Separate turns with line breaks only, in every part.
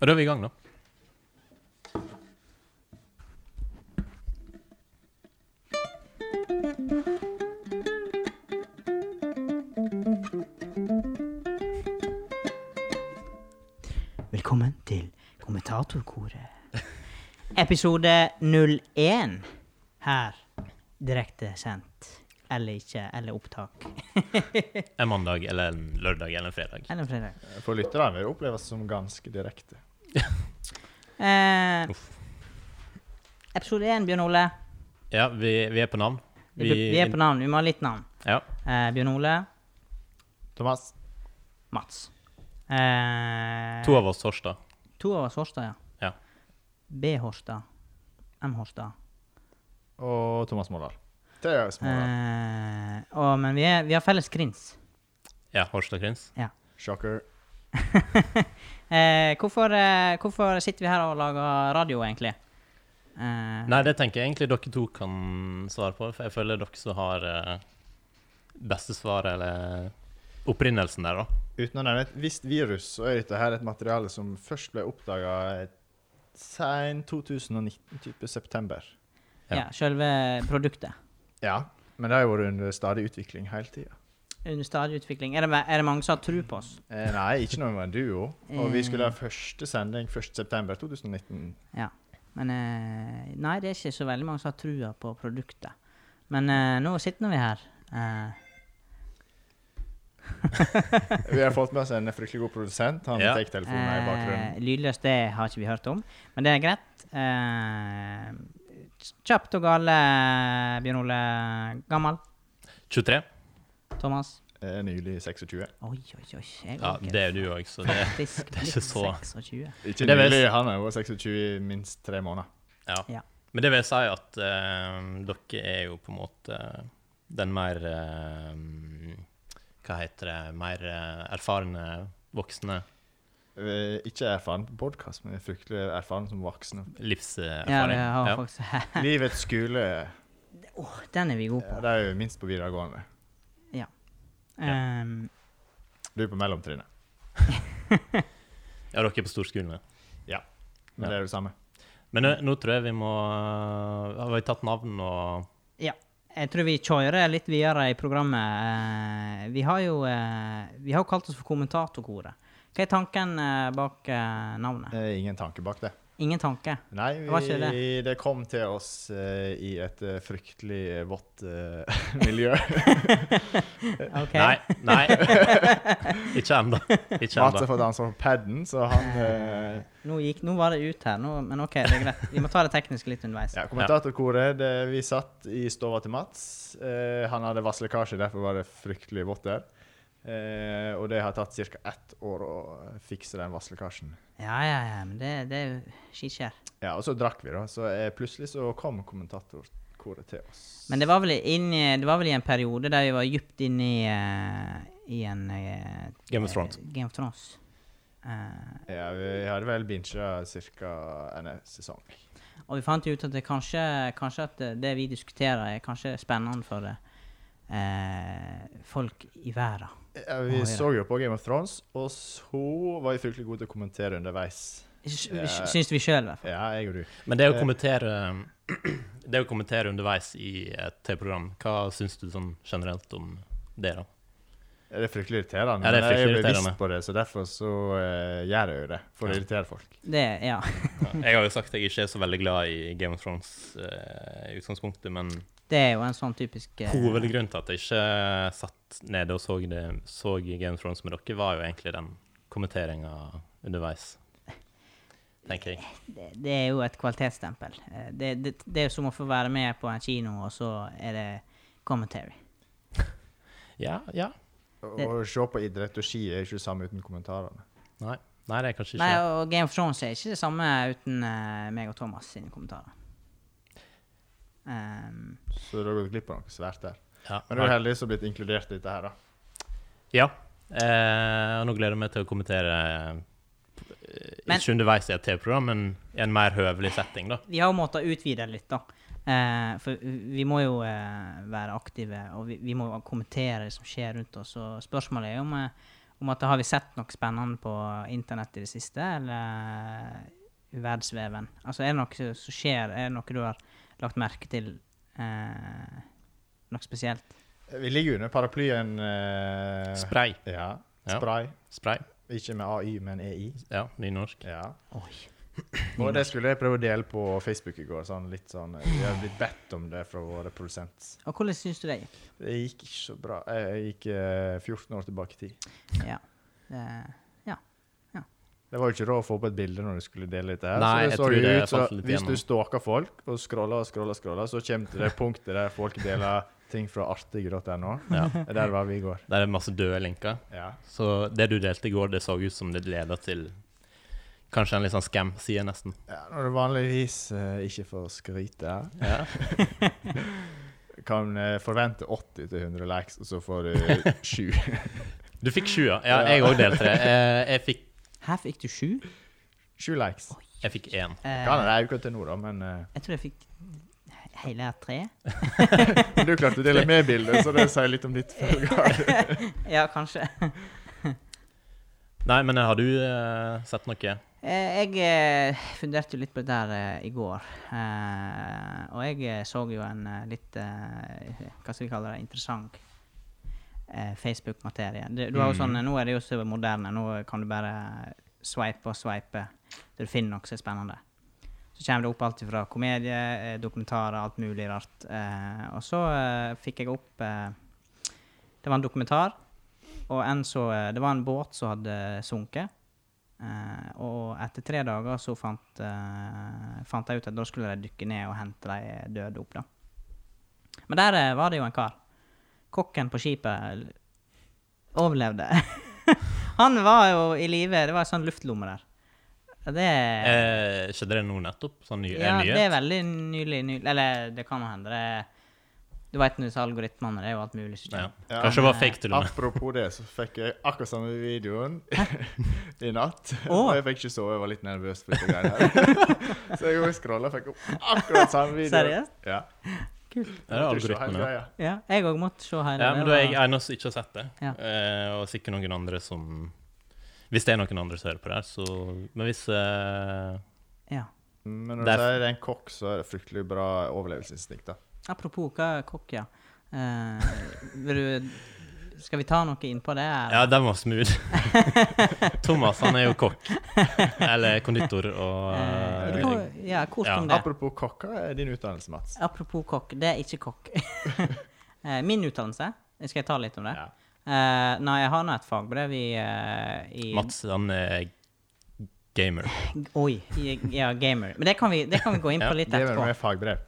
Og da er vi i gang, da.
Velkommen til kommentatorkoret. Episode 01 her. Direkte sendt. Eller ikke. Eller opptak.
En mandag eller en lørdag eller en fredag.
Eller fredag.
For lytterne vil det oppleves som ganske direkte.
Eh,
Uff.
episode 1, Bjørn Ole.
Ja, vi, vi er på navn.
Vi, vi er på navn. Vi må ha litt navn.
Ja.
Eh, Bjørn Ole.
Thomas,
Mats. Eh,
To av oss Horstad.
to av oss Horstad, ja.
Ja.
B. Horstad. M. Horstad.
og Thomas Mårdal. Det er Smådal.
Eh, å, men vi, er, vi har felles grins.
Ja, Horstad Krins.
Ja.
Shocker.
Eh, hvorfor, eh, hvorfor sitter vi her og lager radio, egentlig? Eh,
Nei, det tenker jeg egentlig dere to kan svare på, for jeg føler dere som har eh, beste svaret, eller opprinnelsen der, da.
Uten å nevne et visst virus, så er dette her et materiale som først ble oppdaga sein 2019, type september.
Ja.
ja. selve produktet.
Ja, men det har jo vært under stadig utvikling hele tida.
Under stadig utvikling. Er det, er det mange som har tro på oss?
Eh, nei, ikke når vi var en duo. Og vi skulle ha første sending 1.9.2019.
Ja. Men eh, Nei, det er ikke så veldig mange som har trua på produktet. Men eh, nå sitter vi her. Eh,
Vi har fått med oss en fryktelig god produsent. Han
Ja.
tar telefonen her i bakgrunnen.
eh, lydløst, det har ikke vi hørt om. Men det er greit. Eh, kjapt og gale, eh, Bjørn Ole. Gammel.
23.
Thomas.
Eh, nylig 26.
Oi, oi, oi. Jeg
Ja,
liker
det er du òg, så det
faktisk
det er ikke så-
blitt 26.
Ikke
Det er vel-
nylig, han har jo vært 26 i minst tre måneder.
Ja.
Ja.
Men det vil jeg si at eh, dere er jo på en måte den mer eh, Hva heter det Mer eh, erfarne voksne.
Eh, Ikke erfaren på podkast, men fryktelig erfaren som voksen.
Ja,
Livserfaring.
det har
Ja.
faktisk
Livets skole eh,
Åh, Den er vi gode på.
det er jo minst på videregående.
Ehm,
Du er på mellomtrinnet.
Ja, dere er på storskolene.
Men
Ja.
det er jo det samme.
Men eh, nå tror jeg vi må eh, Har vi tatt navn og
Jeg tror vi kjører litt videre i programmet. Eh, vi har jo eh, vi har jo kalt oss for kommentatorkoret. Hva er tanken eh, bak eh, navnet?
Det er ingen tanke bak det.
Ingen tanke.
Nei,
Det var
vi,
ikke
det. kom til oss eh, i et eh, fryktelig eh, vått eh, miljø.
Ok.
Nei, nei. Ikke ennå. Ikke
Mats
ennå.
har fått ansvar for paden, så han eh,
Nå, gikk, nå var det ut her, nå, men OK, det er greit. Vi må ta det tekniske litt underveis.
ja, Kommentatorkoret, det, vi satt i stova til Mats. Eh, han hadde vasslekkasje, derfor var det fryktelig vått der. Eh, og det har tatt ca. ett år å fikse den vasslekkasjen.
Ja, ja, ja, men det, det er jo skiskjær.
Ja, og så drakk vi, da. Så eh, plutselig så kom kommentatorkoret til oss.
Men det var, vel inn, i- det var vel i en periode der vi var dypt inne i, eh, i en eh,
Game of Thrones.
Game of Thrones. Eh,
Ja, vi hadde vel bincha ca. en sesong.
Og vi fant jo ut at det kanskje, kanskje at det- det vi diskuterer, er kanskje spennende for eh, folk i verden.
Ja, vi
Å, ja.
så jo på Game of Thrones, og så var vi fryktelig gode til å kommentere underveis.
Sy-
Ja.
Syns vi sjøl, i hvert fall.
Ja, jeg og du.
Men det å kommentere Det å kommentere underveis i et TV-program, hva syns du sånn generelt om det, da?
Ja, Det er fryktelig irriterende.
Ja, det er
men
fryktelig
jeg er
irriterende.
bevisst på det, så derfor så eh, gjør jeg jo det. For
Ja.
å irritere folk.
Det, ja.
Ja, Jeg har jo sagt at jeg ikke er så veldig glad i Game of Thrones eh, i utgangspunktet, men
det er jo en sånn typisk eh,
hovedgrunnen til at jeg ikke satt nede og så, det, så Game of Thrones med dere, var jo egentlig den kommenteringa underveis, tenker jeg.
det, det er jo et kvalitetsstempel. Eh, Det, det, det er jo som å få være med på en kino, og så er det commentary.
Ja, ja.
Og
Det-
å se på idrett og ski er ikke det samme uten kommentarene.
Nei, Nei det er kanskje ikke
Nei, og Game of Thrones er ikke det samme uten eh, meg og Thomas sine kommentarer. Ehm,
Så du har gått glipp av noe svært der.
ja,
Men du er heldig som har blitt inkludert i dette her, da.
Ja. Eh, og nå gleder jeg meg til å kommentere eh,
Men-
Ikke underveis i et TV-program, men i en mer høvelig setting, da.
vi har jo måttet utvide litt, da. Eh, for vi må jo eh, være aktive, og vi, vi må jo kommentere det som skjer rundt oss. Og spørsmålet er om, eh, om at har vi sett noe spennende på internett i det siste, eller i verdensveven? Altså, er det noe som skjer? Er det noe du har lagt merke til? Eh, noe spesielt?
Vi ligger jo under paraplyen eh,
Spray.
Ja.
Ja.
Spray.
Spray.
Ikke med AI, men E EI.
Ja, nynorsk.
Ja.
Oi.
Og det skulle jeg prøve å dele på Facebook i går. Sånn, litt sånn, eh, Vi har blitt bedt om det fra våre produsent.
Og hvordan syns du det gikk?
Det gikk ikke så bra. Eh, Jeg gikk eh, 14 år tilbake i tid.
Ja. Eh,
Det var jo ikke råd å få opp et bilde når du skulle dele dette. her.
Nei, jeg
det så
tror
jo
det
ut, så
falt litt
hvis du
gjennom.
stalker folk og scroller og scroller, scroller, så kommer til det punktet der folk deler ting fra artig.no.
Ja.
Der var vi i går.
Der er masse døde linker.
Ja.
Så det du delte i går, det så ut som det leda til kanskje en litt sånn scam-side, nesten.
Ja, når du vanligvis eh, ikke får skryte,
Ja.
kan eh, forvente 80-100 likes, og så får du 7.
Du fikk sju, ja. ja jeg òg delte det. Eh, Jeg fikk,
her fikk du sju.
7 likes.
jeg fikk én.
Eh,
Kan det er uka til nå, da, men eh,
jeg tror jeg fikk hele tre.
men du klarte å dele med bildet, så det sier litt om ditt følge.
Ja, kanskje.
Nei, men har du eh, sett noe?
Eh, Jeg eh, funderte jo litt på det der eh, i går. Eh, og jeg eh, så jo en eh, litt eh, Hva skal vi kalle det? Interessant eh, Facebook-materie. Det- Du har jo sånn, eh, Nå er det jo så moderne. Nå kan du bare sveipe og sveipe til du finner noe som er spennende. Så kommer det opp alt fra komedie, eh, dokumentarer, alt mulig rart. Eh, og så eh, fikk jeg opp eh, Det var en dokumentar, og en så, eh, det var en båt som hadde sunket. Eh, og etter tre dager så fant, eh, fant jeg ut at da skulle de dykke ned og hente de døde opp. da. Men der eh, var det jo en kar. Kokken på skipet l- overlevde. Han var jo i live. Det var en sånn luftlomme der. Det,
Eh, Skjedde det nå nettopp? Sånn ny,
ja,
en nyhet?
det er veldig nylig. nylig eller det kan jo hende. Det, er- du veit nå disse algoritmene, det er jo alt mulig. som
Ja.
skjer.
Ja,
Kanskje det var fake til og med.
Apropos det, så fikk jeg akkurat samme videoen i natt.
Åh.
Og jeg fikk ikke sove, jeg var litt nervøs. For dette greiene her. så jeg scrolla og fikk opp akkurat samme video.
Seriøst?
Ja.
Kult.
Det er
Du ser helt
algoritmen, ja.
greia.
Ja, jeg òg måtte se hele.
Ja,
det
men da er jeg
var-
eneste som ikke har sett det.
Ja.
Eh, og sikkert noen andre som Hvis det er noen andre som hører på det her, så Men hvis eh,
ja.
Men når du
Det er-
sier det er en kokk, så er det fryktelig bra overlevelsesinstinkt. da.
Apropos hva kokk, ja. Eh, vil du, skal vi ta noe innpå det? eller?
Ja, den var smooth. Thomas han er jo kokk. Eller konditor og
Eh,
eh,
hvor- ja, kort
Ja.
om det.
Apropos kokk, hva er din utdannelse, Mats?
Apropos kokk, det er ikke kokk. Eh, Min utdannelse, skal jeg ta litt om det?
Ja.
Eh, nei, jeg har nå et fagbrev i, eh, i
Mats, han er gamer.
Oi, i, ja, gamer. Men det kan vi, det kan vi gå inn på
Ja,
litt
Det er
etterpå.
med fagbrev.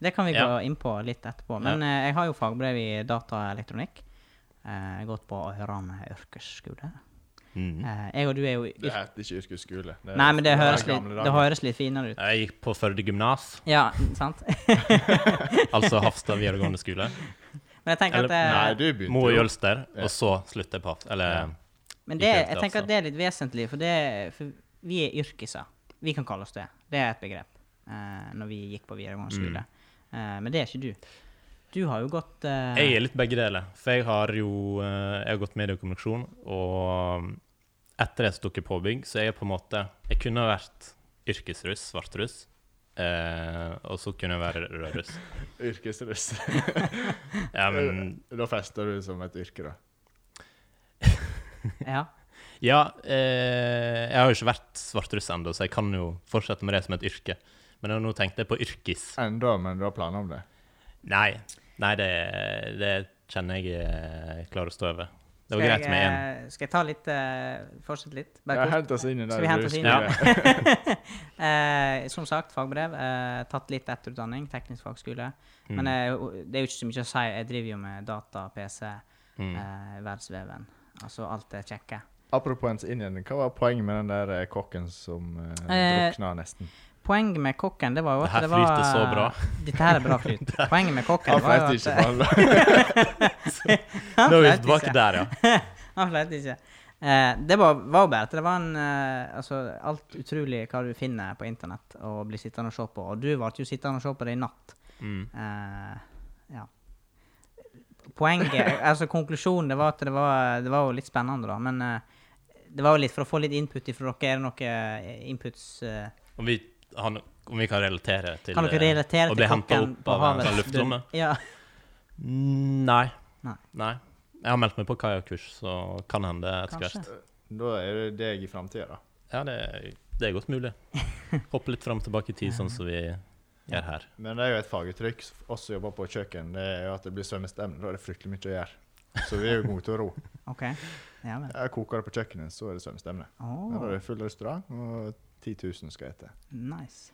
Det kan vi
Ja.
gå inn på litt etterpå. Men eh, jeg har jo fagbrev i dataelektronikk. Eh, jeg har gått på Ørane yrkesskole.
Mm.
Eh, jeg og du er jo
Det
yrk...
heter ikke yrkesskole. Det er-
Eh,
Nei, men det
er
høres litt,
gamle
det
dager.
høres litt finere ut.
Jeg gikk på Førde gymnas,
Ja, sant?
altså Hafstad videregående skole.
Men jeg tenker at det,
Nei, du begynte
Mo og
jo.
Jølster, og så slutta jeg på Hafstad. Eller
men det,
ikke helt,
jeg tenker
altså.
at det er litt vesentlig, for, det, for vi er yrkiser. Vi kan kalle oss det. Det er et begrep eh, når vi gikk på
Mm.
videregående skole. Eh, men det er ikke du. Du har jo gått eh,
Jeg er litt begge deler. For jeg har jo eh, jeg har gått mediekommunikasjon, og etter det så tok jeg påbygg, så jeg er på en måte Jeg kunne ha vært yrkesruss, svartruss, eh, og så kunne jeg være rødruss.
Yrkesruss.
Ja, men
Eh, Da fester du som et yrke, da.
Ja.
Ja, eh, jeg har jo ikke vært svartruss ennå, så jeg kan jo fortsette med det som et yrke. Men jeg- nå tenkte jeg på yrkes.
Enda, men du har planer om det.
Nei, nei det, det kjenner jeg eh, klarer å stå over. Det var
Skal
greit
jeg,
med én.
eh, Skal jeg ta litt eh, Fortsette litt?
Ja,
kort.
hent oss inn i det
Skal vi hente oss inn i
yrkeslivet.
Eh, som sagt, fagbrev. Eh, tatt litt etterutdanning, teknisk fagskole.
Mm.
Men eh, det er jo ikke så mye å si. Jeg driver jo med data, PC,
Mm.
eh, verdensveven. Altså alt det kjekke.
Apropos ens inngjending, hva var poenget med den der eh, kokken som eh,
Eh,
drukna nesten?
Poenget med kokken det var jo
Det
at
her
det, var
flyter så bra.
Dette her er bra flyt. Poenget med kokken
Han
var jo
fleste ikke
at
faller.
Da er vi
fløyt
tilbake
ikke.
der, ja.
Han fløyt ikke. Eh, det var, var jo bare at det var en eh, Altså, alt utrolig hva du finner på internett og blir sittende og se på. Og du ble jo sittende og se på det i natt.
Mm.
Eh, ja. Eh, poenget, altså konklusjonen, det var at det var, det var jo litt spennende, da. Men eh, det var jo litt for å få litt input ifra dere. Er det noen inputs eh,
Om vi, han, om vi kan relatere til eh,
Kan dere relatere
Å
til
bli henta
kokken
opp
på
av en
havets
sånn luftlomme?
bunn? Ja.
Mm, Nei.
Nei.
Nei. Jeg har meldt meg på kajakkurs, så kan hende etter
Kanskje.
hvert.
Da er det deg i framtida, da.
Ja, det, det er godt mulig. Hoppe litt fram og tilbake i tid, sånn som vi gjør her.
Men det er jo et faguttrykk som også jobber på kjøkken, det er jo at det blir svømmestemning. Da er det fryktelig mye å gjøre. Så vi er jo gode til å ro.
OK. Ja vel.
Jeg koker det på kjøkkenet, så er det svømmestemning. Da
Oh,
er det full restaurant, og 10 000 skal ete.
nice.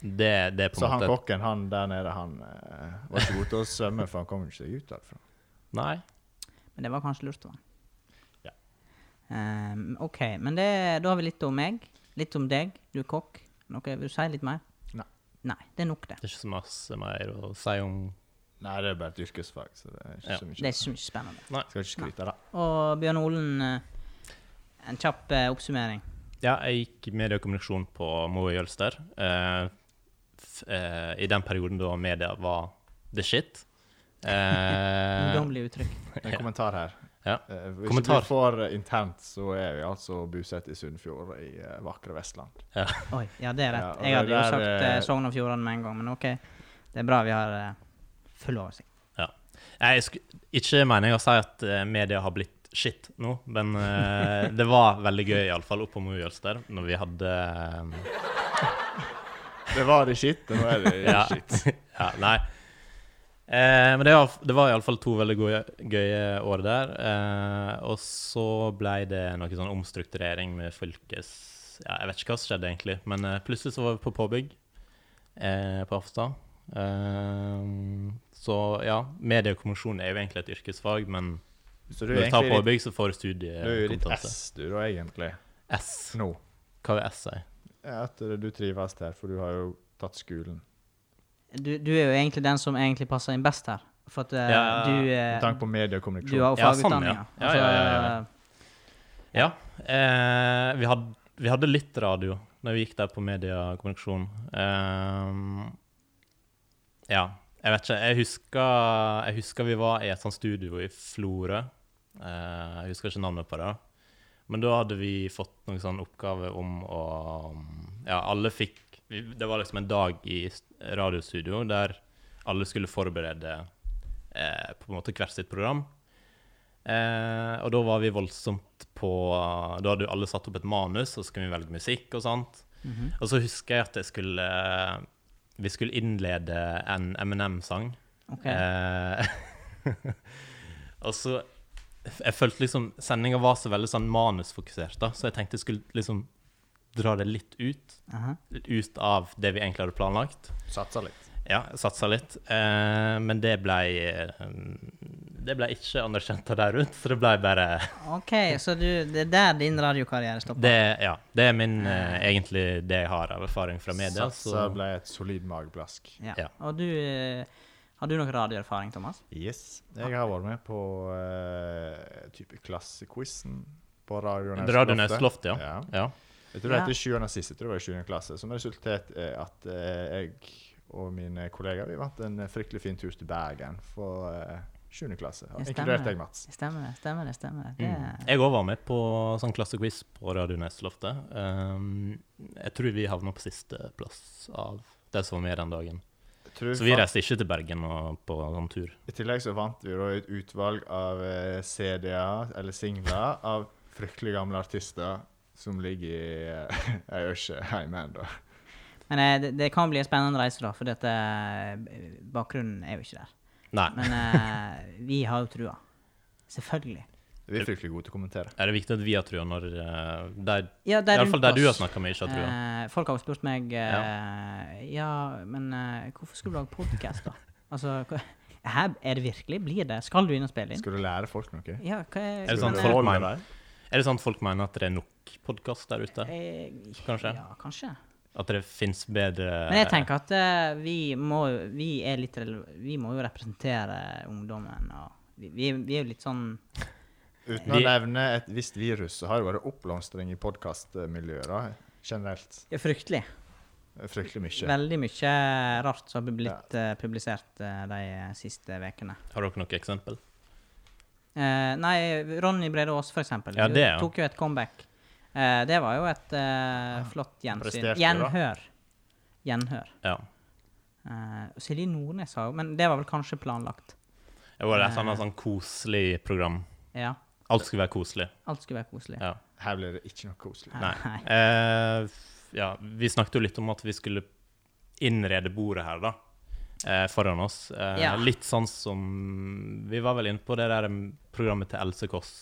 Det, det er på
Så
en
han
måte
kokken han der nede, han eh, var ikke god til å svømme, for han kom ikke seg ut derfra.
Nei.
Men det var kanskje lurt, da.
Ja.
Ehm, OK. Men det, da har vi litt om meg. Litt om deg. Du er kokk. Noe, vil du si litt mer?
Nei.
Nei, Det er nok, det.
Det er ikke så masse mer å si om
Nei, det er bare et yrkesfag, så det er ikke
Ja.
så mye.
Det er så mye spennende.
Skal ikke skryte, da.
Og Bjørn Olen, eh, en kjapp eh, oppsummering.
Ja, jeg gikk mediekommunikasjon på Mo i Jølster. Eh, f- eh, I den perioden da media var the shit. Eh,
Ungdommelig uttrykk.
En kommentar her.
Ja.
Eh, hvis
Kommentar.
du får eh, internt, så er vi altså bosatt i Sunnfjord i eh, vakre Vestland.
Oi, ja, det er
Ja,
rett.
og
Jeg hadde
det
jo
der,
sagt eh,
eh,
Sogn og Fjordane med en gang, men OK. Det er bra vi har eh, full oversikt.
Nei, Jeg sku, ikke mener jeg å si at eh, media har blitt shit nå, men eh, det var veldig gøy iallfall oppe på Mo i Jølster når vi hadde eh,
Det var det skitt, og nå er det
Ja.
skitt.
Ja, nei. Eh, men det var, det var iallfall to veldig gode, gøye år der. Eh, og så ble det noe sånn omstrukturering med fylkes... Ja, jeg vet ikke hva som skjedde, egentlig. Men eh, plutselig så var vi på påbygg eh, på Afta. Eh, så ja, mediekommunikasjon er jo egentlig et yrkesfag, men
Så du
når du
er
tar
egentlig litt,
påbygg, så får du
du er jo litt
studiekompetanse.
S, du da, egentlig,
S.
nå.
Hva vil S si?
Ja, At eh, du trives her, for du har jo tatt skolen.
Du, du er jo egentlig den som egentlig passer inn best her. For at eh,
Ja,
du,
Med
eh,
tanke på
du
mediekommunikasjon.
har jo
Ja, sånn,
fagutdanninga.
ja. Ja, ja, ja, ja.
Altså,
Ja. Eh, vi, hadde, vi hadde litt radio når vi gikk der på mediekommunikasjon. Ehm, ja. Jeg vet ikke. Jeg husker, jeg husker vi var i et sånt studio i Florø. Eh, jeg husker ikke navnet på det. Men da hadde vi fått noen sånn oppgave om å Ja, alle fikk vi- Det var liksom en dag i s- radiostudio der alle skulle forberede eh, på en måte hvert sitt program. Eh, og da var vi voldsomt på Da hadde jo alle satt opp et manus, og så kunne vi velge musikk og sånt.
Mhm.
Og så husker jeg at jeg skulle Vi skulle innlede en Eminem-sang.
ok.
Eh, og så Jeg følte liksom Sendinga var så veldig sånn manusfokusert, da, så jeg tenkte jeg skulle liksom dra det litt ut.
Aha.
Litt ut av det vi egentlig hadde planlagt.
Satser litt.
Ja, satsa litt. Eh, men det blei eh, Det blei ikke anerkjent av de rundt, så det blei bare
OK, så du, det er der din radiokarriere stopper?
det, ja, det er min, eh, egentlig det jeg har av erfaring fra media. Så,
Satser ble et solid mageplask.
Ja.
Ja.
Og du eh, Har du noe radioerfaring, Thomas?
Yes. Jeg har vært med på eh, type klassequizen på Radio
Radio Nesloft, ja.
ja.
ja.
Jeg tror det
Ja.
heter 7. og sist, jeg tror det var i 7. klasse, som resulterte i at eh, jeg og mine kollegaer vi vant en eh, fryktelig fin tur til Bergen for eh, 7. klasse.
Ja, stemmer.
Inkludert deg, Mats.
Stemmer det, stemmer det. stemmer det.
Mm.
det
Jeg òg var med på sånn klassequiz på Radio Nesloftet. Um, jeg tror vi havna på sisteplass av de som var med den dagen.
Jeg tror
Så vi
fa-
reiste ikke til Bergen og på sånn tur.
I tillegg så vant vi da et utvalg av eh, CD-er, eller singler, av fryktelig gamle artister som ligger i eh, ei øsje hjemme ennå.
Men eh, det, det kan bli en spennende reise, da, for dette, eh, bakgrunnen er jo ikke der.
Nei.
Men eh, vi har jo trua. Selvfølgelig.
Vi er fryktelig gode til å kommentere.
Er det viktig at vi har trua når uh, de,
Ja, det er rundt
Iallfall de du har
oss.
snakka med, ikke har trua.
Eh, folk har jo spurt meg eh, ja. men eh, hvorfor skulle du lage podkast, da? Altså, hva, her er det virkelig? Blir det? Skal du inn og spille inn?
Skal du lære folk noe?
Ja, hva
Er det sånn sant
men,
folk
Underholde
mener,
deg?
er det sant folk mener at det er nok podkast der ute?
eh,
Kanskje?
Ja, kanskje.
At det fins bedre
Men jeg tenker at eh, vi, må, jo- vi, er litt, rele- vi må jo representere ungdommen. Og vi, vi, vi er jo litt sånn
Uten
Vi-
å nevne et visst virus, så har det vært oppblomstring i podkastmiljøet da, generelt.
ja, fryktelig.
Eh, Fryktelig mye.
Veldig mye rart som har blitt eh, publisert eh, de siste ukene.
Har dere noe eksempel?
Eh, nei, Ronny Brede Aas, for eksempel,
Ja, det, ja.
tok jo et comeback. Eh, det var jo et eh, flott gjensyn.
Presterte, da.
Gjenhør. Gjenhør.
Ja.
Eh, Silje Nordnes har jo Men det var vel kanskje planlagt.
Det var
Eh.
et annet sånn koselig program.
Ja.
Alt skulle være koselig.
Alt skulle være koselig.
Ja.
Her blir det ikke noe koselig.
Nei. Eh, ja, vi snakket jo litt om at vi skulle innrede bordet her, da. Eh, foran oss. Eh,
Ja.
Litt sånn som Vi var vel inne på det der mm, programmet til Else Kåss.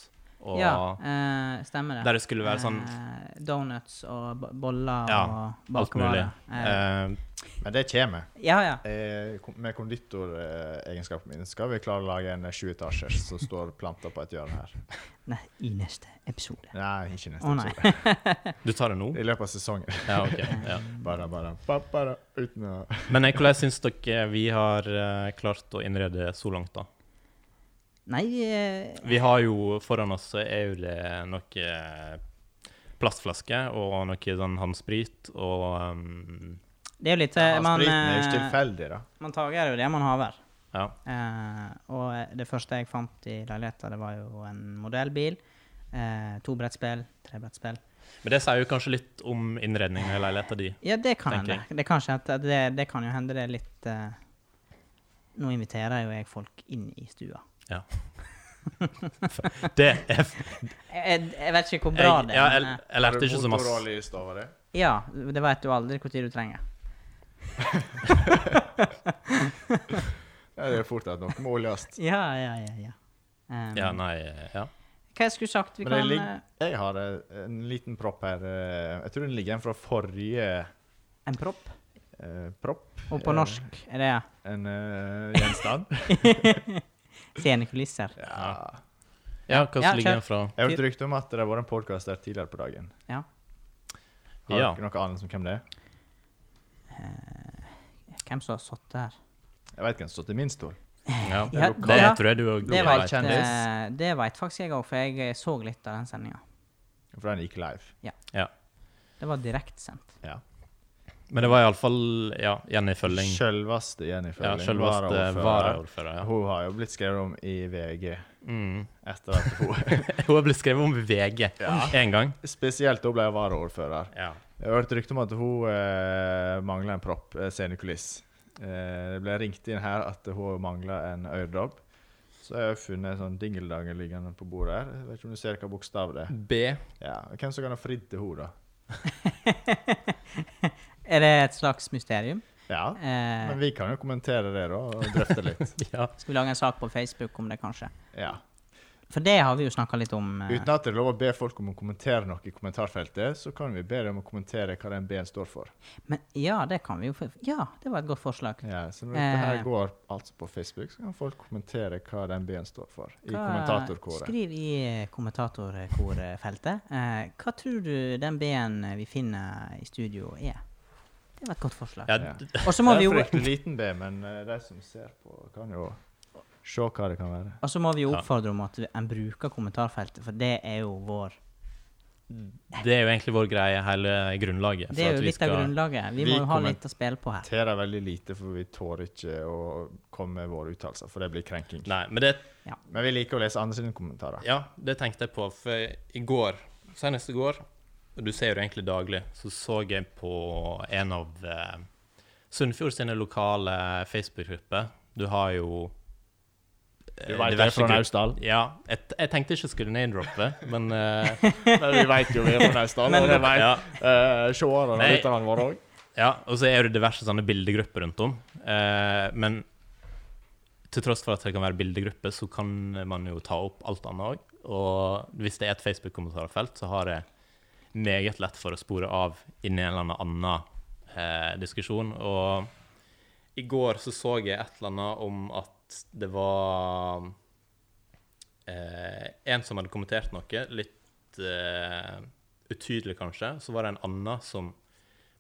Og
ja, eh, stemmer det.
der det skulle være sånn
Eh, donuts og bo- boller
Ja,
og
alt mulig.
bakervarer. Eh,
Eh,
Men det kommer.
ja, ja.
Eh, kom- Med konditoregenskapene mine skal vi klare å lage en sjuetasjers som står planta på et hjørne her.
Nei, i neste episode.
Nei, ikke neste
Å, nei.
episode.
du tar det nå?
I løpet av sesongen.
Ja, ok. Ja.
Bare, bare, ba- bare uten å
Men eh, hvordan syns dere vi har eh, klart å innrede så langt, da?
Nei eh,
Vi har jo foran oss så er jo det noe plastflasker og noe sånn håndsprit og um,
Det er jo litt eh,
Ja,
man,
Spriten er jo ikke
eh,
tilfeldig, da.
man tager jo det man haver.
Ja.
Eh, og det første jeg fant i leiligheten, det var jo en modellbil. Eh, to brettspill, tre brettspill.
Men det sier jo kanskje litt om innredningen i leiligheta di.
Ja, det kan
Tenker
hende. Det kan, skje at det, det kan jo hende det er litt eh, Nå inviterer jo jeg folk inn i stua.
Det er
Jeg, jeg, jeg vet ikke hvor bra
jeg,
det
ja,
er.
jeg,
men, eh,
jeg lærte ikke så masse.
motorolje over det?
Ja, det vet du aldri når du trenger.
Ja, det er fort at noe må oljes.
Ja, ja, ja. ja. Um,
Ja, nei, ja.
Hva jeg skulle sagt? Vi
Men det
kan
ligger-
eh,
Jeg har eh, en liten propp her. eh, Jeg tror den ligger en fra forrige
En propp?
eh, propp.
Og på
Eh,
norsk er det
En eh, gjenstand.
scenekulisser.
ja.
Ja, hva
Ja,
som ligger
kjør.
den fra?
Jeg har hørt rykte om at det har vært en podkast der tidligere på dagen.
Ja.
Har
Ja.
dere noe annet om hvem det er?
Eh, Hvem som har sittet her?
Jeg vet ikke hvem som står til min stol.
Ja.
Ja,
Det
ja.
tror jeg du òg
Det
Global
vet,
kjendis.
eh, det vet faktisk jeg òg, for jeg eh, så litt av den sendinga.
For den gikk live.
Det var direktesendt.
Ja.
Men det var iallfall ja, Jenny Følling.
Sjølvaste Jenny
Ja,
Følling.
Selveste
varaordfører.
varaordfører. Ja.
Hun har jo blitt skrevet om i VG
Mm.
etter at hun
Hun har blitt skrevet om i VG én gang.
Spesielt hun ble varaordfører.
Ja.
Jeg har hørt rykte om at hun eh, mangla en propp, eh, scenekuliss. Eh, det ble ringt inn her at hun mangla en øredobb. Så jeg har funnet en sånn dingeldanger liggende på bordet her. Jeg vet ikke om du ser hva bokstav det er.
B.
Ja, Hvem som kan ha fridd til henne, da?
Er det et slags mysterium?
Ja,
Eh,
men vi kan jo kommentere det, da, og drøfte litt.
Ja.
skal vi lage en sak på Facebook om det, kanskje?
Ja.
For det har vi jo snakka litt om. eh,
Uten at det er lov å be folk om å kommentere noe i kommentarfeltet, så kan vi be dem om å kommentere hva den B-en står for.
Men ja, det kan vi jo. få- Ja, det var et godt forslag.
Ja, så når dette her
Eh.
går altså på Facebook, så kan folk kommentere hva den B-en står for i
Hva-
kommentatorkoret.
Skriv i eh, kommentatorkorfeltet. Eh, hva tror du den B-en vi finner i studio, er? Det var et godt forslag.
Ja,
Ja.
d-
Og så må vi
det er
jo
en fryktelig liten B, men eh, de som ser på, kan jo se hva det kan være.
Og så må vi jo
Ja.
oppfordre om at en bruker kommentarfeltet, for det er jo vår
det er jo egentlig vår greie, hele grunnlaget.
Det er jo litt av grunnlaget. Vi,
Vi
må jo ha
kommer-
litt å spille på her.
Terer veldig lite, for vi tårer ikke å komme med våre uttalelser, for det blir krenking.
Nei, men det
Men vi liker å lese andre sine kommentarer.
Ja, det tenkte jeg på, for i går, senest i går, og du ser jo det egentlig daglig, så så jeg på en av eh, Sunnfjord sine lokale Facebook-grupper. Du har jo eh,
Du vet det er
diverse
fra
grupper.
Naustdal?
Ja. Jeg, jeg tenkte ikke jeg skulle name-droppe, men eh,
Men vi vet jo vi er fra Naustdal, og det vet
ja,
eh, seerne og
Nei.
lytterne våre òg.
ja, og så er det diverse sånne bildegrupper rundt om. Eh, men til tross for at det kan være bildegrupper, så kan man jo ta opp alt annet òg. Og hvis det er et Facebook-kommentarfelt, så har jeg meget lett for å spore av inn i en eller annen annen eh, diskusjon. Og i går så så jeg et eller annet om at det var eh, en som hadde kommentert noe, litt eh, utydelig kanskje. Så var det en annen som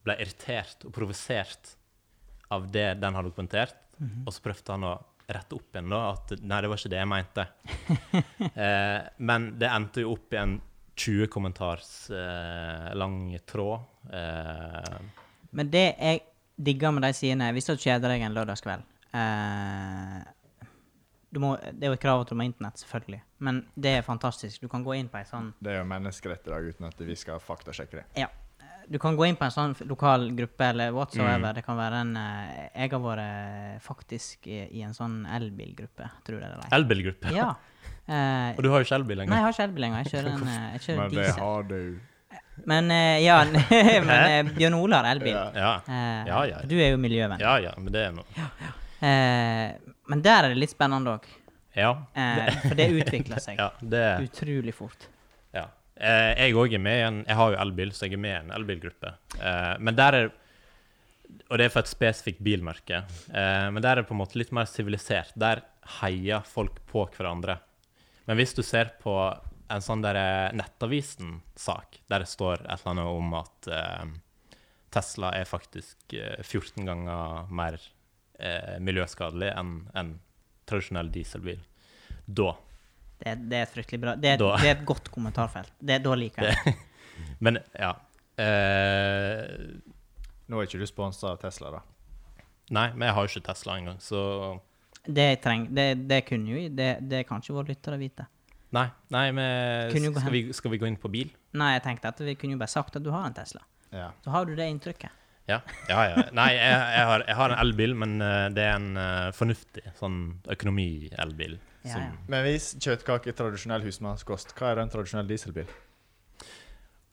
ble irritert og provosert av det den hadde kommentert.
Mhm.
Og så prøvde han å rette opp igjen da, at nei, det var ikke det jeg mente. eh, men det endte jo opp i en 20 kommentars eh, lang tråd. Eh,
Men det jeg digger med de sidene Hvis du kjeder deg en lørdagskveld eh, du må, det er jo et krav at du må ha internett, selvfølgelig. Men det er fantastisk. Du kan gå inn på en sånn
Det er jo menneskerett i dag uten at vi skal faktasjekke det.
du kan gå inn på en sånn f- lokal gruppe eller whatsoever.
Mm.
Det kan være en eh, Jeg har vært eh, faktisk i, i en sånn elbilgruppe, tror jeg det er.
Elbilgruppe.
Ja. Eh,
Og du har jo ikke elbil
nei, jeg
lenger.
har ikke elbil lenger. Jeg kjører en eh, jeg kjører
Men det
diesel.
har du.
Men eh, ja, men eh, Bjørn Ole har elbil.
Ja.
Ja.
Eh,
Ja, ja, ja.
Du er jo miljøvenn.
ja ja, men det er noe.
Eh, men der er det litt spennende òg.
Ja.
Eh, for det utvikler seg
ja det
utrolig fort.
ja. Eh, Jeg òg er med i en Jeg har jo elbil, så jeg er med i en elbilgruppe. Eh, Men der er Og det er for et spesifikt bilmerke. Eh, Men der er det på en måte litt mer sivilisert. Der heier folk på hverandre. Men hvis du ser på en sånn der eh, Nettavisen-sak, der det står et eller annet om at eh, Tesla er faktisk eh, 14 ganger mer eh, miljøskadelig enn en tradisjonell dieselbil, da
Det, det er et fryktelig bra Det er,
Da-
det er et godt kommentarfelt. Det, da liker jeg det.
Men ja. Eh,
Nå er ikke du sponsa av Tesla, da.
nei, men jeg har jo ikke Tesla engang, så
Det, jeg trenger, det, det kunne jo Det, det kan ikke våre lyttere vite.
Nei, nei men
Kunne jo gå
skal
hen.
vi, skal vi gå inn på bil?
Nei, jeg tenkte at vi kunne jo bare sagt at du har en Tesla.
Ja.
Så har du det inntrykket.
Ja, ja. ja. Nei, jeg, jeg, har, jeg har en elbil, men eh, det er en eh, fornuftig sånn økonomi-elbil.
Ja,
som-
ja.
Men hvis kjøttkake er tradisjonell husmannskost, hva er da en tradisjonell dieselbil?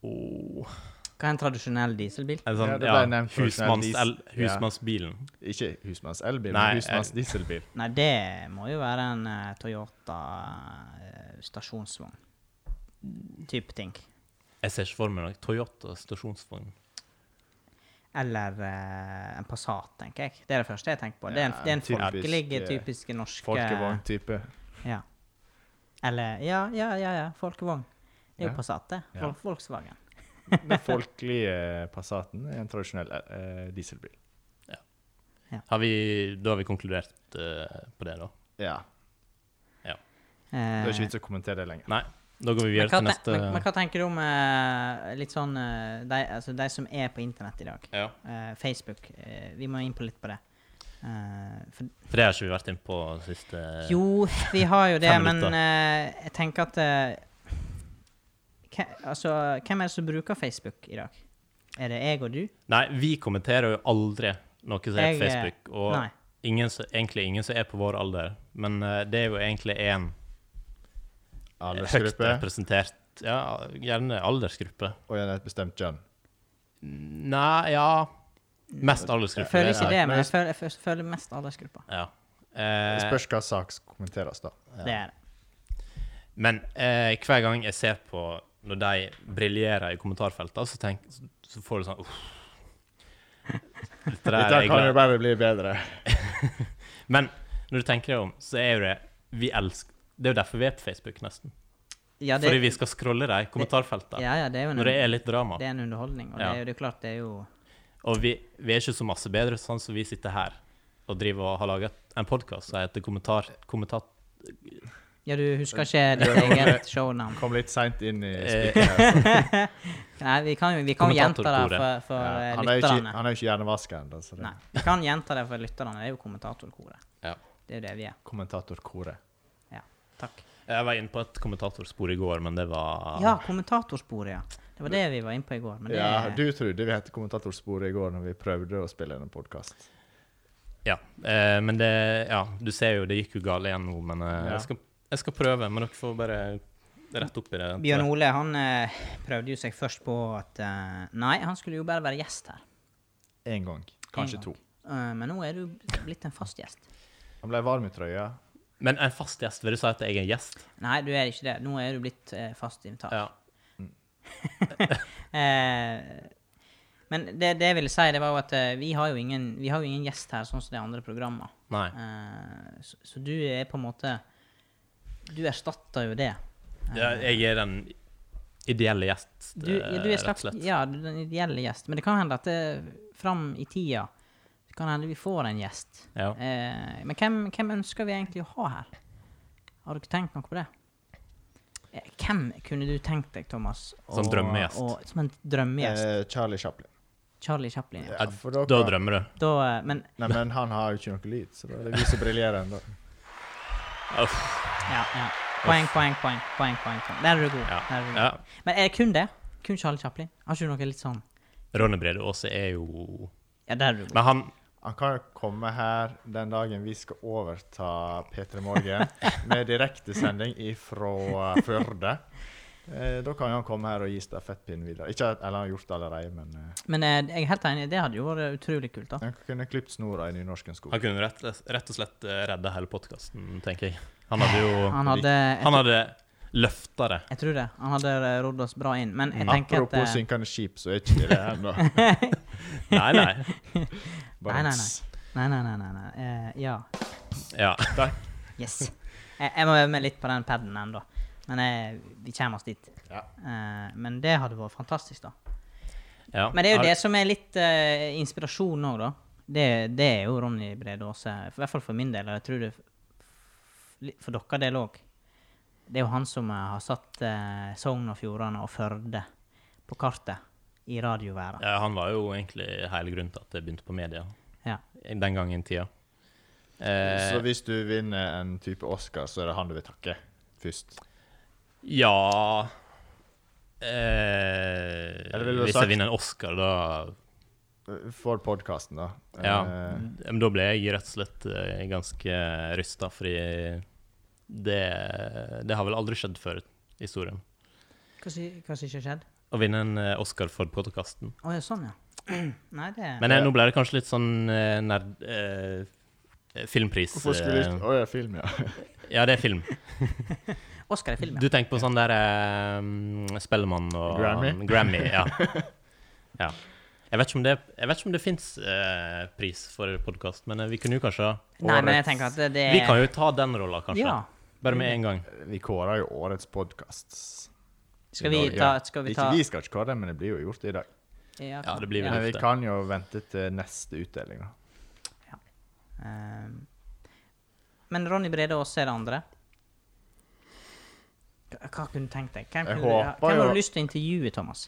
Åh.
Hva er en tradisjonell dieselbil?
En
Oh. Ja,
sånn,
det ble
ja,
nevnt på sånn
husmanns,
dis-
el,
ja.
husmannsbilen.
Ikke husmannselbil,
Nei, eh,
men husmannsdieselbil.
Nei, det må jo være en eh, Toyota eh, stasjonsvogn. Type ting.
Jeg ser ikke for meg noe Toyota stasjonsvogn.
Eller eh, en Passat, tenker jeg. Det er det første jeg tenker på. Det er en, det er en
Ja, typisk,
folkelig,
eh,
typisk norsk eh,
Folkevogntype.
Ja. Eller Ja, ja, ja, ja. Folkevogn. Det er jo
Ja.
Passat, det.
Ja.
Vol Volkswagen.
Den folkelige Passaten er en tradisjonell eh, dieselbil.
Har vi, da har vi konkludert eh, på det, da.
Ja. Det er ikke
Eh,
vits å kommentere det lenger.
Nei, da går vi
men,
videre
hva
til
ten-
neste
men, men hva tenker du om eh, litt sånn eh, de, altså de som er på internett i dag?
ja.
Eh, Facebook. eh, vi må inn på litt på det. Eh, for,
For det har ikke vi vært inne på siste
jo, vi har jo det,
Eh, fem
men
minutter.
eh, jeg tenker at eh, hva- Altså, hvem er det som bruker Facebook i dag? Er det jeg og du?
Nei, vi kommenterer jo aldri noe som er
Jeg,
på Facebook. Og
Nei.
ingen, som- egentlig ingen som er på vår alder. Men eh, det er jo egentlig én høyt
Aldersgruppe
representert Ja, gjerne aldersgruppe.
og en et bestemt kjønn.
Nei, ja Mest aldersgruppe.
Jeg føler ikke det,
Ja.
men jeg føler, jeg føler mest aldersgruppa.
Ja.
Det
Eh,
spørs hva sak som kommenteres, da.
Det er det.
men eh, hver gang jeg ser på når de briljerer i kommentarfeltene, så, tenk, så får du sånn uff. Dette der
Dette
er jeg
kan
glad-
jo bare bli bedre.
Men når du tenker deg om, så er jo det Vi elsker Det er jo derfor vi er på Facebook, nesten.
Ja, det,
Fordi vi skal scrolle de kommentarfeltene.
ja, ja, det er jo en,
Når det er litt drama.
det er en underholdning. Og
Ja.
det, er jo, det er klart, det er jo
Og vi, vi er ikke så masse bedre sånn som vi sitter her og driver og har laget en podkast som heter kommentar, kommentat...
Ja, du husker ikke ditt eget shownavn?
Kom litt seint inn i
Eh,
spikkeret.
Nei, vi kan jo vi kan jo gjenta det
Kommentatorkoret.
for, for eh,
Han er jo ikke,
lytterne.
han er jo ikke hjernevaska ennå, så det
Nei, vi kan gjenta det for lytterne. Det er jo kommentatorkoret.
Ja.
Det er jo det vi er.
kommentatorkoret.
Takk.
Jeg var inne på et kommentatorspor i går, men det var
Ja, kommentatorsporet, ja. Det var det vi var inne på i går. Men det,
Ja, du trodde vi het kommentatorsporet i går når vi prøvde å spille inn en podkast.
Ja, eh, men det Ja, du ser jo det gikk jo galt igjen nå, men eh,
Ja.
jeg, skal, jeg skal prøve. Men dere får bare rette opp i det.
Bjørn Ole han eh, prøvde jo seg først på at eh, Nei, han skulle jo bare være gjest her.
Én gang. Kanskje
En gang.
to.
Eh, men nå er du blitt en fast gjest.
Han ble varm i trøya.
Men en fast gjest, vil du si at jeg er en gjest?
Nei, du er ikke det. Nå er du blitt eh, fast invitar.
Ja.
Eh, men det, det jeg ville si, det var jo at eh, vi har jo ingen, vi har jo ingen gjest her, sånn som de andre programmene.
Nei.
Eh, så, så du er på en måte Du erstatter jo det. Eh,
Ja, jeg er den ideelle gjest,
Du, ja, du
eh,
er slags, ja, du er den ideelle gjest. Men det kan hende at det, fram i tida det kan hende vi får en gjest.
Ja.
Eh, men hvem, hvem ønsker vi egentlig å ha her? Har dere tenkt noe på det? Eh, Hvem kunne du tenkt deg, Thomas?
Som
å-
drømmegjest.
å- Som en drømmegjest.
Eh, Charlie Chaplin.
Charlie Chaplin. Ja.
Ja,
for
da, da drømmer du.
Da, eh, men
Nei, men han har jo ikke noe lyd, så da er det vi som briljerer ennå.
Uff,
Ja, ja. Poeng, poeng, poeng. poeng, poeng, poeng. Der er du god.
ja.
Der er du god.
ja.
Men er det kun det? Kun Charlie Chaplin? Har ikke du noe litt sånn
Ronny Brede Aase er jo
Ja, der er du god.
Men han
Han kan jo komme her den dagen vi skal overta P3 Morgen med direktesending fra Førde. Eh, da kan han komme her og gi stafettpinnen videre. Ikke at eller han har gjort det allerede, men eh,
Men eh, jeg er helt enig, det hadde jo vært utrolig kult, da.
han kunne klipt snora i Nynorskens skog.
Han kunne rett, rett og slett eh, redde hele podkasten, tenker jeg. Han hadde jo
Han hadde jeg,
Han hadde løfta det.
jeg tror det. Han hadde eh, rodd oss bra inn. Men jeg tenker at
Mm. Apropos
eh,
synkende skip, så er ikke vi det ennå.
Nei, nei.
Nei, nei, nei. Nei, nei, nei. nei, nei. Eh, ja.
Ja.
Yes. Jeg, jeg må øve meg litt på den paden ennå. Men eh, vi kommer oss dit.
Ja.
Eh, men det hadde vært fantastisk, da.
ja.
Men det er jo
Har-
det som er litt eh, inspirasjon òg, da. Det, det er jo Ronny Brede Aase. I hvert fall for min del, og jeg tror det litt for dere del òg. Det er jo han som eh, har satt eh, Sogn og Fjordane og Førde på kartet i radioværa.
Ja, han var jo egentlig hele grunnen til at jeg begynte på media
Ja.
den gangen i tida. Eh,
Så hvis du vinner en type Oscar, så er det han du vil takke først.
Ja eh,
Eller ville du
Hvis
sagt-
jeg vinner en Oscar, da
Eh, For podkasten, da.
Ja.
Eh,
Men da ble jeg rett og slett eh, ganske rysta, fordi det, det har vel aldri skjedd før i historien.
Hva som hva som ikke har skjedd?
Å vinne en eh, Oscar for podkasten.
Å ja, sånn, ja. Nei, det
Men eh, nå ble det kanskje litt sånn eh, nerd... Eh, filmpris.
hvorfor skulle du
eh,
ikke Å ja, film, ja.
Ja, det er film.
Oscar er filmen.
Du tenker på sånn der eh, Spellemann og mm,
Grammy?
Grammy ja. ja. Jeg vet ikke om det, jeg vet ikke om det fins eh, pris for podkast, men eh, vi kunne jo kanskje
Nei, men jeg tenker at det, det
Vi kan jo ta den rolla, kanskje.
Ja.
Bare med en gang.
Vi kårer jo årets podkast.
Skal vi ta, skal vi ta
Ikke vi skal ikke kåre det, men det blir jo gjort i dag.
Ja, det blir vel
Men vi
ofte.
kan jo vente til neste utdeling, da.
Ehm, Men Ronny Brede Aase er det andre. Hva hva kunne du tenkt deg? Hvem,
Jeg
kunne, du-
håper
hvem har
jo-
du lyst til å intervjue, Thomas?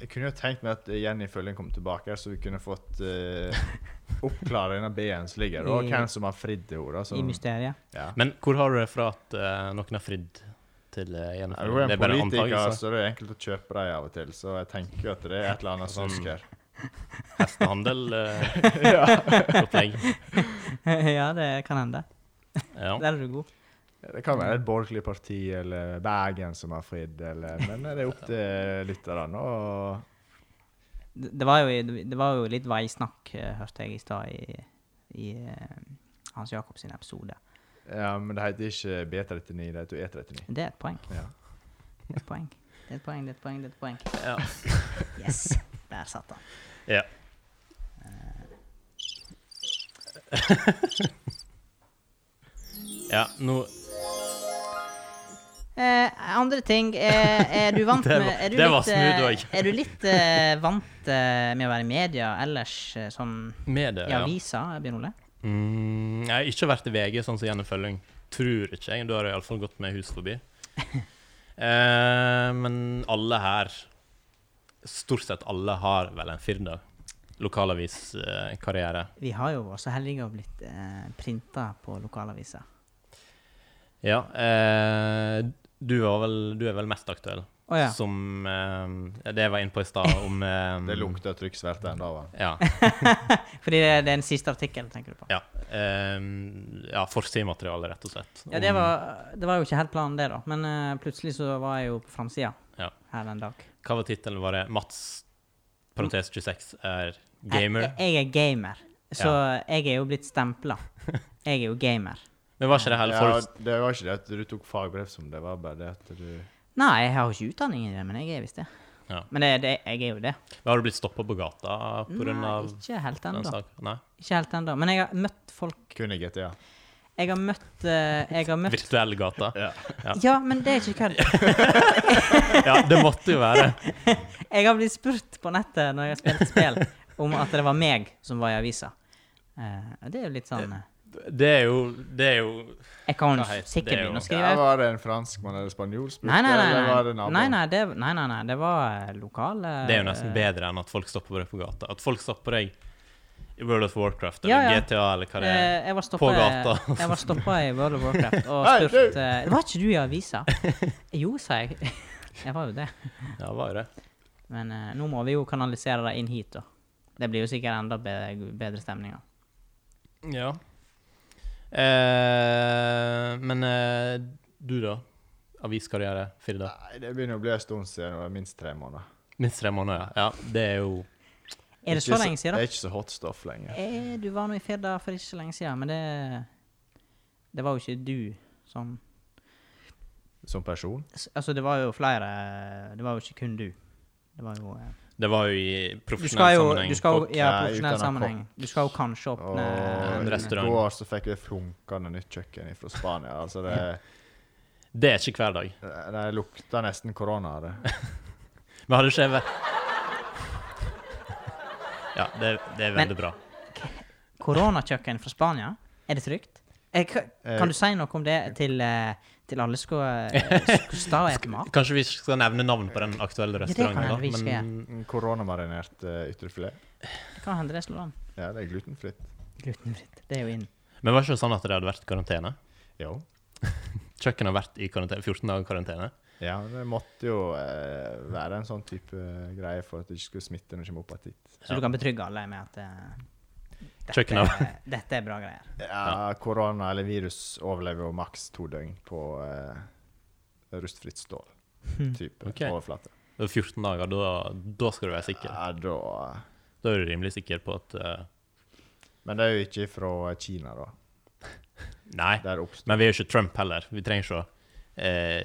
Jeg kunne jo tenkt meg at Jenny Følling kom tilbake, her, så vi kunne fått eh, oppklare denne B-en som ligger der, og
I-
hvem som har fridd til henne. da,
I
som-
mysteriet?
Ja.
Men hvor har du det fra at eh, noen har fridd til uh,
Ja, Hun er
Det
en
er bare
politiker, altså.
antakelse.
så det er enkelt å kjøpe dem av og til. Så jeg tenker jo at det er et eller annet
Sånn-
snusk her.
eh, Hestehandel-opplegg.
ja, det kan hende.
ja.
Der er du god.
Det kan være et borgerlig parti eller Bergen som har fridd, eller Men det er opp til lytterne å
Det det var jo, det var jo litt veisnakk, eh, hørte jeg i stad, i, i eh, Hans Jacobs sin episode.
Ja, men det heter ikke B39, det heter E39.
Det er et poeng.
Ja.
Det er et poeng. Det er et poeng, det er et poeng. Det er et poeng.
Ja.
Yes! Der satt han.
Ja. ja, nå
Eh, andre ting eh, Er du vant
Det
med
var-
er du
det
litt,
var smooth
eh,
også.
Er du litt eh, vant eh, med å være i media ellers, eh, sånn
Med det,
i aviser, Bjørn Ole?
Mm, jeg har ikke vært i VG, sånn som Jenny Følling. Tror ikke jeg. Da har jeg iallfall gått meg hus forbi. Eh, men alle her, stort sett alle, har vel en Firda lokalaviskarriere. Eh, karriere.
Vi har jo vært så heldige å ha blitt eh, printa på lokalaviser.
ja, eh, du, var vel, du er vel mest aktuell,
Å ja.
som eh, Det jeg var inne på i stad, om eh,
Det lukter trykksverte ennå. va?
Ja.
Fordi det er den siste artikkelen, tenker du på?
ja, eh, ja Forsidemateriale, rett og slett.
Ja, det var, det var jo ikke helt planen, det, da. Men eh, plutselig så var jeg jo på framsida
Ja.
her en dag.
Hva var tittelen? Var det 'Mats parentes 26 er gamer'?
Jeg, jeg er gamer. Så jeg er jo blitt stempla. Jeg er jo gamer.
Men var ikke det hele
Ja,
folk
det var ikke det at du tok fagbrev som det, var bare det at du
Nei, jeg har jo ikke utdanning i det, men jeg er visst det.
Ja.
Men det, det, jeg er jo det.
Har du blitt stoppa på gata pga.
Nei, ikke helt
den
ennå.
saken? Nei.
Ikke helt ennå. Men jeg har møtt folk
kunne GTA.
Jeg har møtt eh, Jeg har møtt
Virtuell gata?
Ja.
Ja, men det er ikke kødd.
Ja, det måtte jo være.
Jeg har blitt spurt på nettet når jeg har spilt spill, om at det var meg som var i avisa. Eh, det er jo litt sånn eh,
Det er jo Det er jo
Jeg kan jo
Hva heter
sikkert
det jo?
begynne å skrive
Ja,
ut.
var det en franskmann eller spanjolsk?
Nei, nei, nei.
Eller var det
Nei,
naboen?
nei, nei, det, nei, nei, nei, det var eh, lokale
Det er jo nesten bedre enn at folk stopper deg på gata. At folk stopper deg I World of Warcraft eller
Ja, ja.
GTA eller hva det er.
Eh, jeg var
På
stoppa
gata.
jeg var stoppa i World of Warcraft og
Hei,
spurt eh, Var ikke du i avisa? Jo, sa jeg. Jeg var jo det.
Ja, det var jo det.
Men eh, nå må vi jo kanalisere det inn hit, da. Det blir jo sikkert enda bedre, bedre stemning. da.
Ja. Eh, men eh, du, da? Aviskarriere, Firda?
Nei, det begynner å bli en stund siden. det var Minst tre måneder.
Minst tre måneder, ja. ja. Det er jo
Er det
Ikke
så lenge siden?
Det er ikke så hot stoff lenger.
Eh, du var nå i Firda for ikke så lenge siden, men det Det var jo ikke du som
Som person.
s- Altså, det var jo flere Det var jo ikke kun du. Det var jo eh,
Det var jo i
Du skal
profesjonell
jo,
sammenheng. eh,
du skal jo
Og-
ja,
Nei,
profesjonell
uten å
sammenheng. Du skal jo kanskje
Og
åpne
en
en-
restaurant.
I går så fikk vi flunkende nytt kjøkken fra Spania. Altså det,
Det er ikke hver dag.
det lukta nesten korona av det.
Men hadde ikke jeg vært Ja, det, det er
Men-
veldig bra.
Koronakjøkken fra Spania, er det trygt? Eh, ka- kan du si noe om det til, eh, til alle skal eh, skal sta og spise mat?
Kanskje vi ikke skal nevne navn på den aktuelle
Ja, det kan
restauranten,
hende vi
da.
ikke
Men
En Koronamarinert uh, ytrefilet.
Det kan hende det slår an.
Ja, det er glutenfritt.
Glutenfritt. Det er jo inn.
Men var det ikke sånn at det hadde vært karantene?
Jo.
Kjøkkenet har vært i karantene, 14 dager karantene.
Ja, men det måtte jo eh, være en sånn type greie for at det ikke skulle smitte når det kommer opp igjen hit.
Så du kan betrygge alle med at eh, dette,
Kjøkkenet.
er- dette er bra greier.
Ja, korona eller virus overlever jo maks to døgn på eh, rustfritt stål. Type
Ok.
overflate.
Det var 14 dager, da, da skal du være sikker.
Ja, da
Da er du rimelig sikker på at eh,
Men det er jo ikke fra Kina, da.
Nei,
Der oppstår
men vi er jo ikke Trump heller. Vi trenger ikke å eh,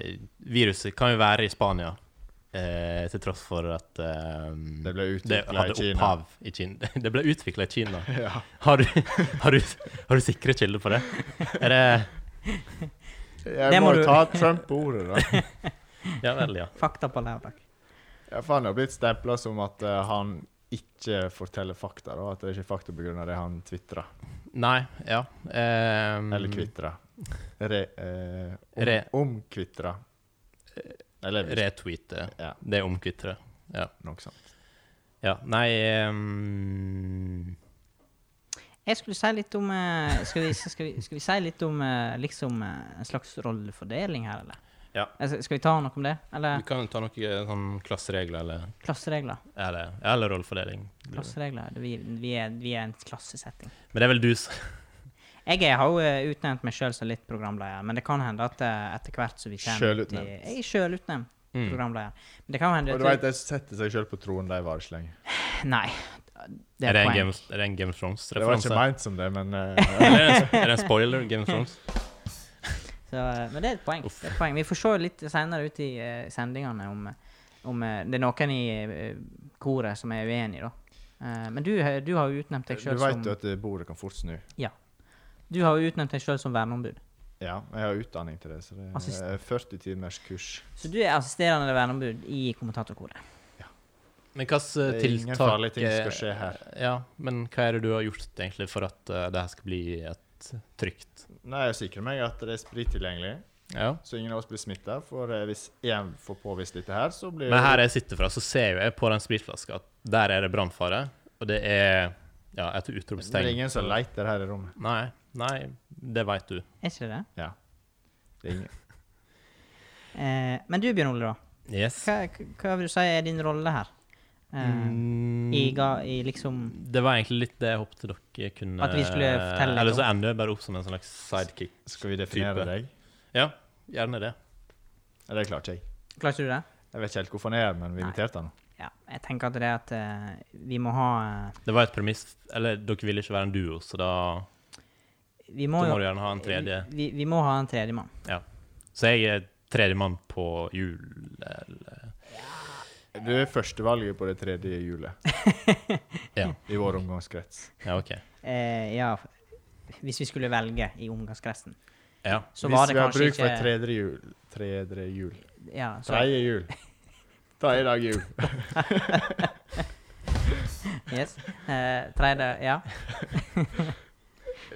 Viruset kan jo være i Spania, eh, til tross for at eh,
Det ble
det
utvikla i
hadde
Kina.
opphav i Kina. Det ble utvikla i Kina.
Ja.
Har du, har, du, har du sikre kilder på det? Er det
Jeg
Det
må
må
jo
du-
ta Trump på ordet, da.
Ja vel, ja.
Fakta på lørdag.
Ja, for han har blitt stempla som at eh, han ikke forteller fakta. da, At det ikke er fakta på grunn av det han tvitra.
Nei, ja. ehm,
Eller kvitra. Re... Eh, om,
Re-
omkvitra. Eller
Retweete.
Ja,
Det er omkvitre.
noe sånt.
Ja. Nei ehm,
Jeg skulle si litt om eh, Skal vi, skal vi, skal vi si litt om eh, liksom eh, en slags rollefordeling her, eller?
Ja.
Altså, Skal vi ta noe om det?
Vi
Eller
kan jo ta noen sånn klasseregler eller,
klasseregler?
eller, eller rollefordeling.
Klasseregler. det- Vi, vi, er, vi er en klassesetting.
Men det er vel du som
Jeg er- har jo eh, utnevnt meg sjøl som litt programleder, men det kan hende at eh, etter hvert som vi kommer ut i-
Sjølutnevnt.
Jeg er sjølutnevnt
mm.
programleder. Men det kan jo hende
Og
at-
du vet, de setter seg sjøl på troen, de varer ikke lenge.
Nei. Det
er,
er,
det en
poeng.
Game, er det en Game of
Det var
Thrones-referanse?
ikke meint som det, men eh,
Er, det en- er det en spoiler? Game of Thrones?
Så, eh, men det er et poeng.
Uff.
Det er et poeng. Vi får se litt senere ut i eh, sendingene om, om eh, det er noen i eh, koret som er uenig, da. Eh, men du, eh, du har jo utnevnt deg
du
sjøl
veit
som
jo at eh, bordet kan fort snu.
Du har jo utnevnt deg selv som verneombud.
Ja, jeg har utdanning til det, så det
Assist-
er 40 timers kurs.
Så du er assisterende verneombud i kommentatorkoret.
Men hva slags
Det
eh,
er
tiltak
ingen farlige ting som
eh,
skal skje her.
Ja, men hva er det du har gjort egentlig for at eh, det her skal bli et trygt
Nei, jeg sikrer meg at det er sprit tilgjengelig,
Ja.
så ingen av oss blir smitta. For eh, hvis én får påvist dette her, så blir
Men her jeg sitter fra, så ser jo jeg på den spritflaska at der er det brannfare, og det er ja, et
Men det
utropstegn.
er ingen som leiter her i rommet.
Nei, nei, det veit du.
Er ikke det?
Ja. Det er ingen.
Eh, men du, Bjørn Ole, da.
Yes.
Hva, hva vil du si er din rolle her? Eh,
Mm,
i, ga, I liksom
det var egentlig litt det jeg håpte dere kunne
At vi skulle fortelle litt
Eller så
om.
ender jeg bare opp som en slags sidekick.
Skal vi definere
Type.
deg?
Ja, gjerne det.
Ja, det klarte jeg.
Klarer ikke du det?
Jeg vet ikke helt hvorfor han er her, men vi
Nei.
inviterte han.
Ja. Jeg tenker at det er at eh, vi må ha eh,
Det var et premiss Eller dere ville ikke være en duo, så da,
Vi
da
må
må
jo
du gjerne ha en tredje.
Vi, vi må ha en tredjemann.
Så jeg er tredjemann på jul eller
Du er førstevalget på det tredje hjulet
Ja,
i vår omgangskrets.
ja OK.
Eh, ja, hvis vi skulle velge i omgangskretsen,
Ja.
så
hvis
var det
vi har
kanskje
bruk for et
ikke
tredje hjul Tredje hjul.
ja, så,
Tredje hjul. Tredje dag jul.
yes. eh, Tredje Ja,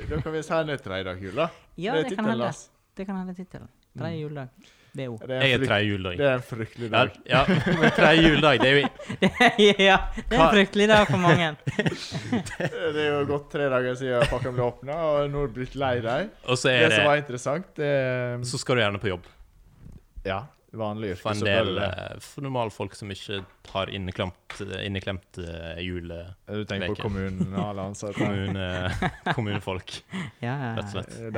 Da kan vi si han er tredje dag jul, da.
ja det,
det er
kan
tittelen
hende.
hans.
Mm.
Det kan hende tittelen. Tredje juledag. BO.
Det
Jeg
en
er
frykt-
tredje juledag.
det er en fryktelig
Ja,
dag.
ja, men tredje juledag, det er jo
ja, det er
Hva-
en fryktelig dag for mange.
Det er jo gått tre dager siden pakka ble åpna, og nå er jeg blitt lei dem.
Og så
Det
er
som
det
var interessant, det er
Så skal du gjerne på jobb.
Ja, vanlig
For en del eh,
yrkesopphold.
for normalfolk som ikke har inneklemt, inneklemt eh, jule...
Du tenker
Leke.
på kommunale ansatte.
Kommune, kommunefolk,
Ja, ja,
rett og
ja.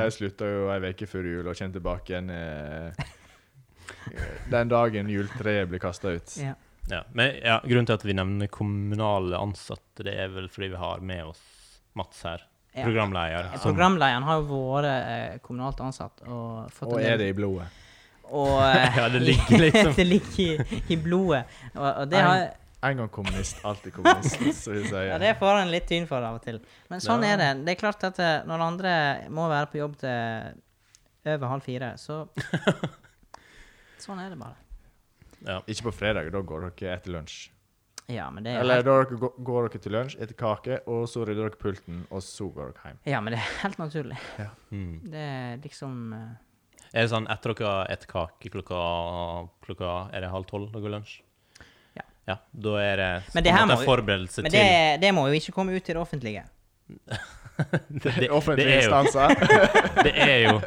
slett.
De slutta Eh, jo ei uke før jul og kommer tilbake igjen eh, den dagen juletreet blir kasta ut.
ja.
Ja. Men ja, grunnen til at vi nevner kommunale ansatte, det er vel fordi vi har med oss Mats her,
Ja.
programleder. som-
Programlederen har jo vært eh, kommunalt ansatt og fått
Og
en
er
del-
det i blodet.
Og, eh,
Ja, det ligger liksom-
det ligger i, i blodet. Og, og det,
Nei.
har,
En gang kommunist, alltid kommunist, som vi sier.
ja, det får han litt tyn for av og til. Men sånn
Ja.
er det. Det er klart at eh, når andre må være på jobb til over halv fire, så Sånn er det bare.
Ja.
Ikke på fredag, da går dere etter lunsj.
Ja, men det er jo
Eller
helt,
da dere gå- går dere til lunsj, etter kake, og så rydder dere pulten, og så går dere hjem.
ja, men det er helt naturlig.
Mm.
Det er liksom eh,
Er det sånn etter dere har et kake klokka, klokka Er det halv tolv dere har lunsj?
Ja.
ja. Da er det
Men det
på en
her
måte
må
en
vi-
forberedelse
Men det, det må jo ikke komme ut til det offentlige.
til det, det, det,
Offentlige
er jo,
instanser.
det er jo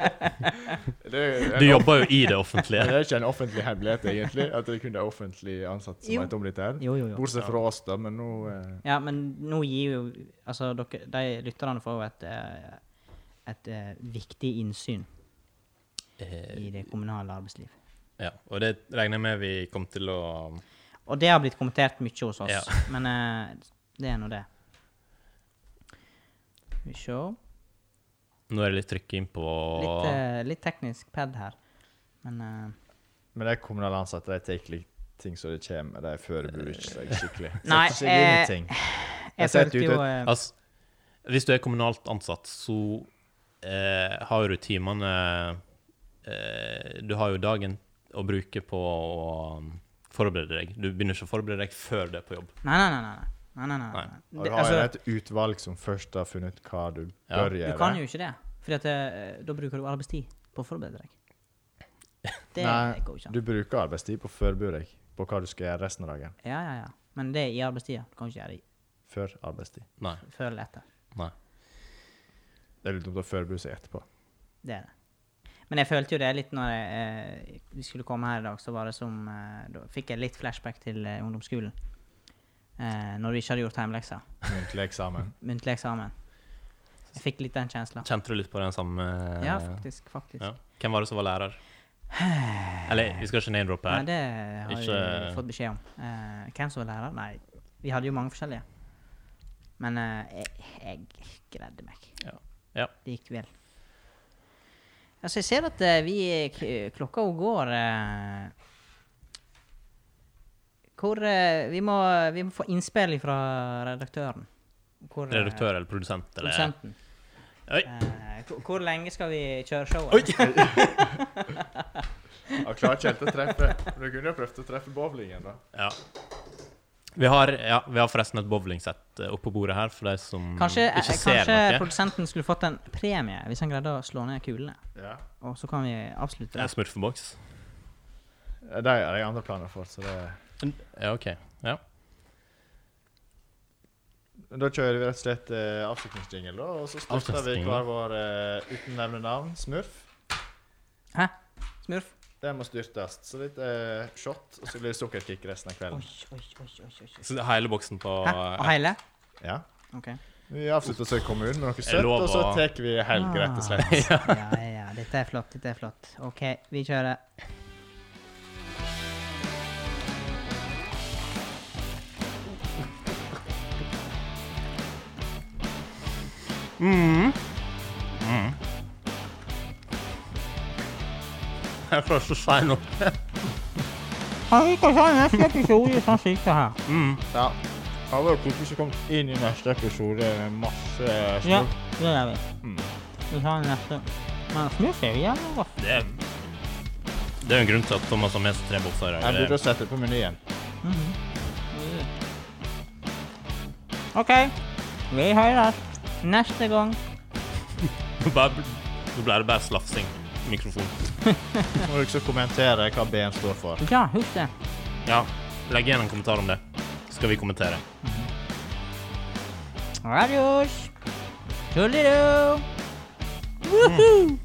Det er,
Du jobber jo i det
det
offentlige.
er ikke en offentlig hemmelighet, egentlig, at det kun er offentlig ansatte
Jo.
som vet om dette. her.
Jo, jo, jo.
Bortsett fra oss, da, men nå eh,
Ja, men nå gir jo Altså, dere, de lytterne får jo et, eh, et eh, viktig innsyn
Eh,
i det kommunale arbeidsliv.
Ja, og det regner jeg med vi kom til å
Og det har blitt kommentert mye hos oss,
Ja.
men eh, det er nå det. Skal vi se
Nå er det litt trykk inn på
litt, eh, litt teknisk pad her. Men eh,
Men de kommunale ansatte de tar ikke ting som det kommer, de forbereder ikke seg skikkelig.
Eh, Nei,
Setter seg inn i
eh,
ting.
jeg
setter
følte
ut
jo
et-
eh,
Altså, hvis du er kommunalt ansatt, så eh, har jo du timene eh, Du har jo dagen å bruke på å um, forberede deg. Du begynner ikke å forberede deg før du er på jobb.
Nei, nei, nei. nei. Nei, nei, nei, nei. Det,
Og Du har jo
altså,
et utvalg som først har funnet ut hva du
Ja.
bør
du
gjøre.
kan jo ikke det, for da bruker du arbeidstid på å forberede deg. Det
Nei,
går ikke an.
Du bruker arbeidstid på å forberede deg på hva du skal gjøre resten av dagen.
Ja, ja, ja. Men det er i arbeidstida. Du kan ikke gjøre det i-
Før arbeidstid.
Nei.
før eller etter.
nei.
Det er litt dumt å forberede seg etterpå.
Det er det. Men jeg følte jo det litt når jeg, eh, vi skulle komme her i dag, så var det som eh, Da fikk jeg litt flashback til eh, ungdomsskolen. Eh, når du ikke hadde gjort hjemmeleksa.
Muntlig eksamen.
Muntlig eksamen. Jeg fikk litt den kjensla.
Kjente du litt på den samme
Ja, faktisk. faktisk. Eh,
Ja. Hvem var det som var lærer? Eller, vi skal ikke name-droppe
Nei,
her.
det har jeg
Ikke-
fått beskjed om. Eh, hvem som var lærer? Nei, vi hadde jo mange forskjellige. Men eh, jeg, jeg greide meg.
Ja. Ja.
Det gikk vel. Altså, jeg ser at eh, vi k- Klokka hun går eh, Hvor eh, vi, må, vi må få innspill fra redaktøren. Hvor, eh,
Redaktør eller produsent eller
Produsenten.
Oi.
Eh, hvor- hvor lenge skal vi kjøre showet?
Jeg klarer ikke helt å treffe. Du kunne jo prøvd å treffe bowlingen, da.
Ja. Vi har, ja, vi har forresten et bowlingsett eh, oppå bordet her, for de som
Kanskje, eh,
ikke ser
kanskje
noe.
produsenten skulle fått en premie hvis han greide å slå ned kulene.
Ja.
Og så kan vi avslutte.
Det er
det.
smurfeboks.
Det Eh, har jeg andre planer for, så det
Ja, OK. Ja.
Da kjører vi rett og slett eh, avslutningsjingle, da. Og så spurter vi
Avslutningsjingle.
hver vår eh, uten nevne navn. Smurf.
Hæ? Smurf?
Det må styrtes. Så litt eh, shot, og så blir det sukkerkick resten av
Oi,
kvelden.
oi, oi. oi, oi, oi.
Så eh, hele boksen på
Hæ? Og hele?
Ja.
OK.
Vi avslutter så i kommunen med noe
Jeg
søtt, og
lover
så
å-
tar vi helg, rett
Ah.
og slett.
Ja, ja, ja. Dette er flott. Dette er flott. OK, vi kjører.
Jeg klarer ikke å si noe.
Kan vi ikke ha neste episode sånn cirka her?
Ja. Det hadde vært kult hvis vi kom inn i neste episode med masse snakk.
Ja, det gjør vi. Vi tar neste. Men smurf er jo jævlig godt.
Det er, det er jo en grunn til at Thomas har med seg tre bokser i
Jeg
dag.
burde
Det-
sette det på menyen.
OK. Vi høres neste gang.
Bare- Nå ble det bare slafsing. mikrofon.
Må du også kommentere hva BM står for.
Ja, husk det.
Ja, legg igjen en kommentar om det. Skal vi kommentere.
Adios. Tullido. Woohoo!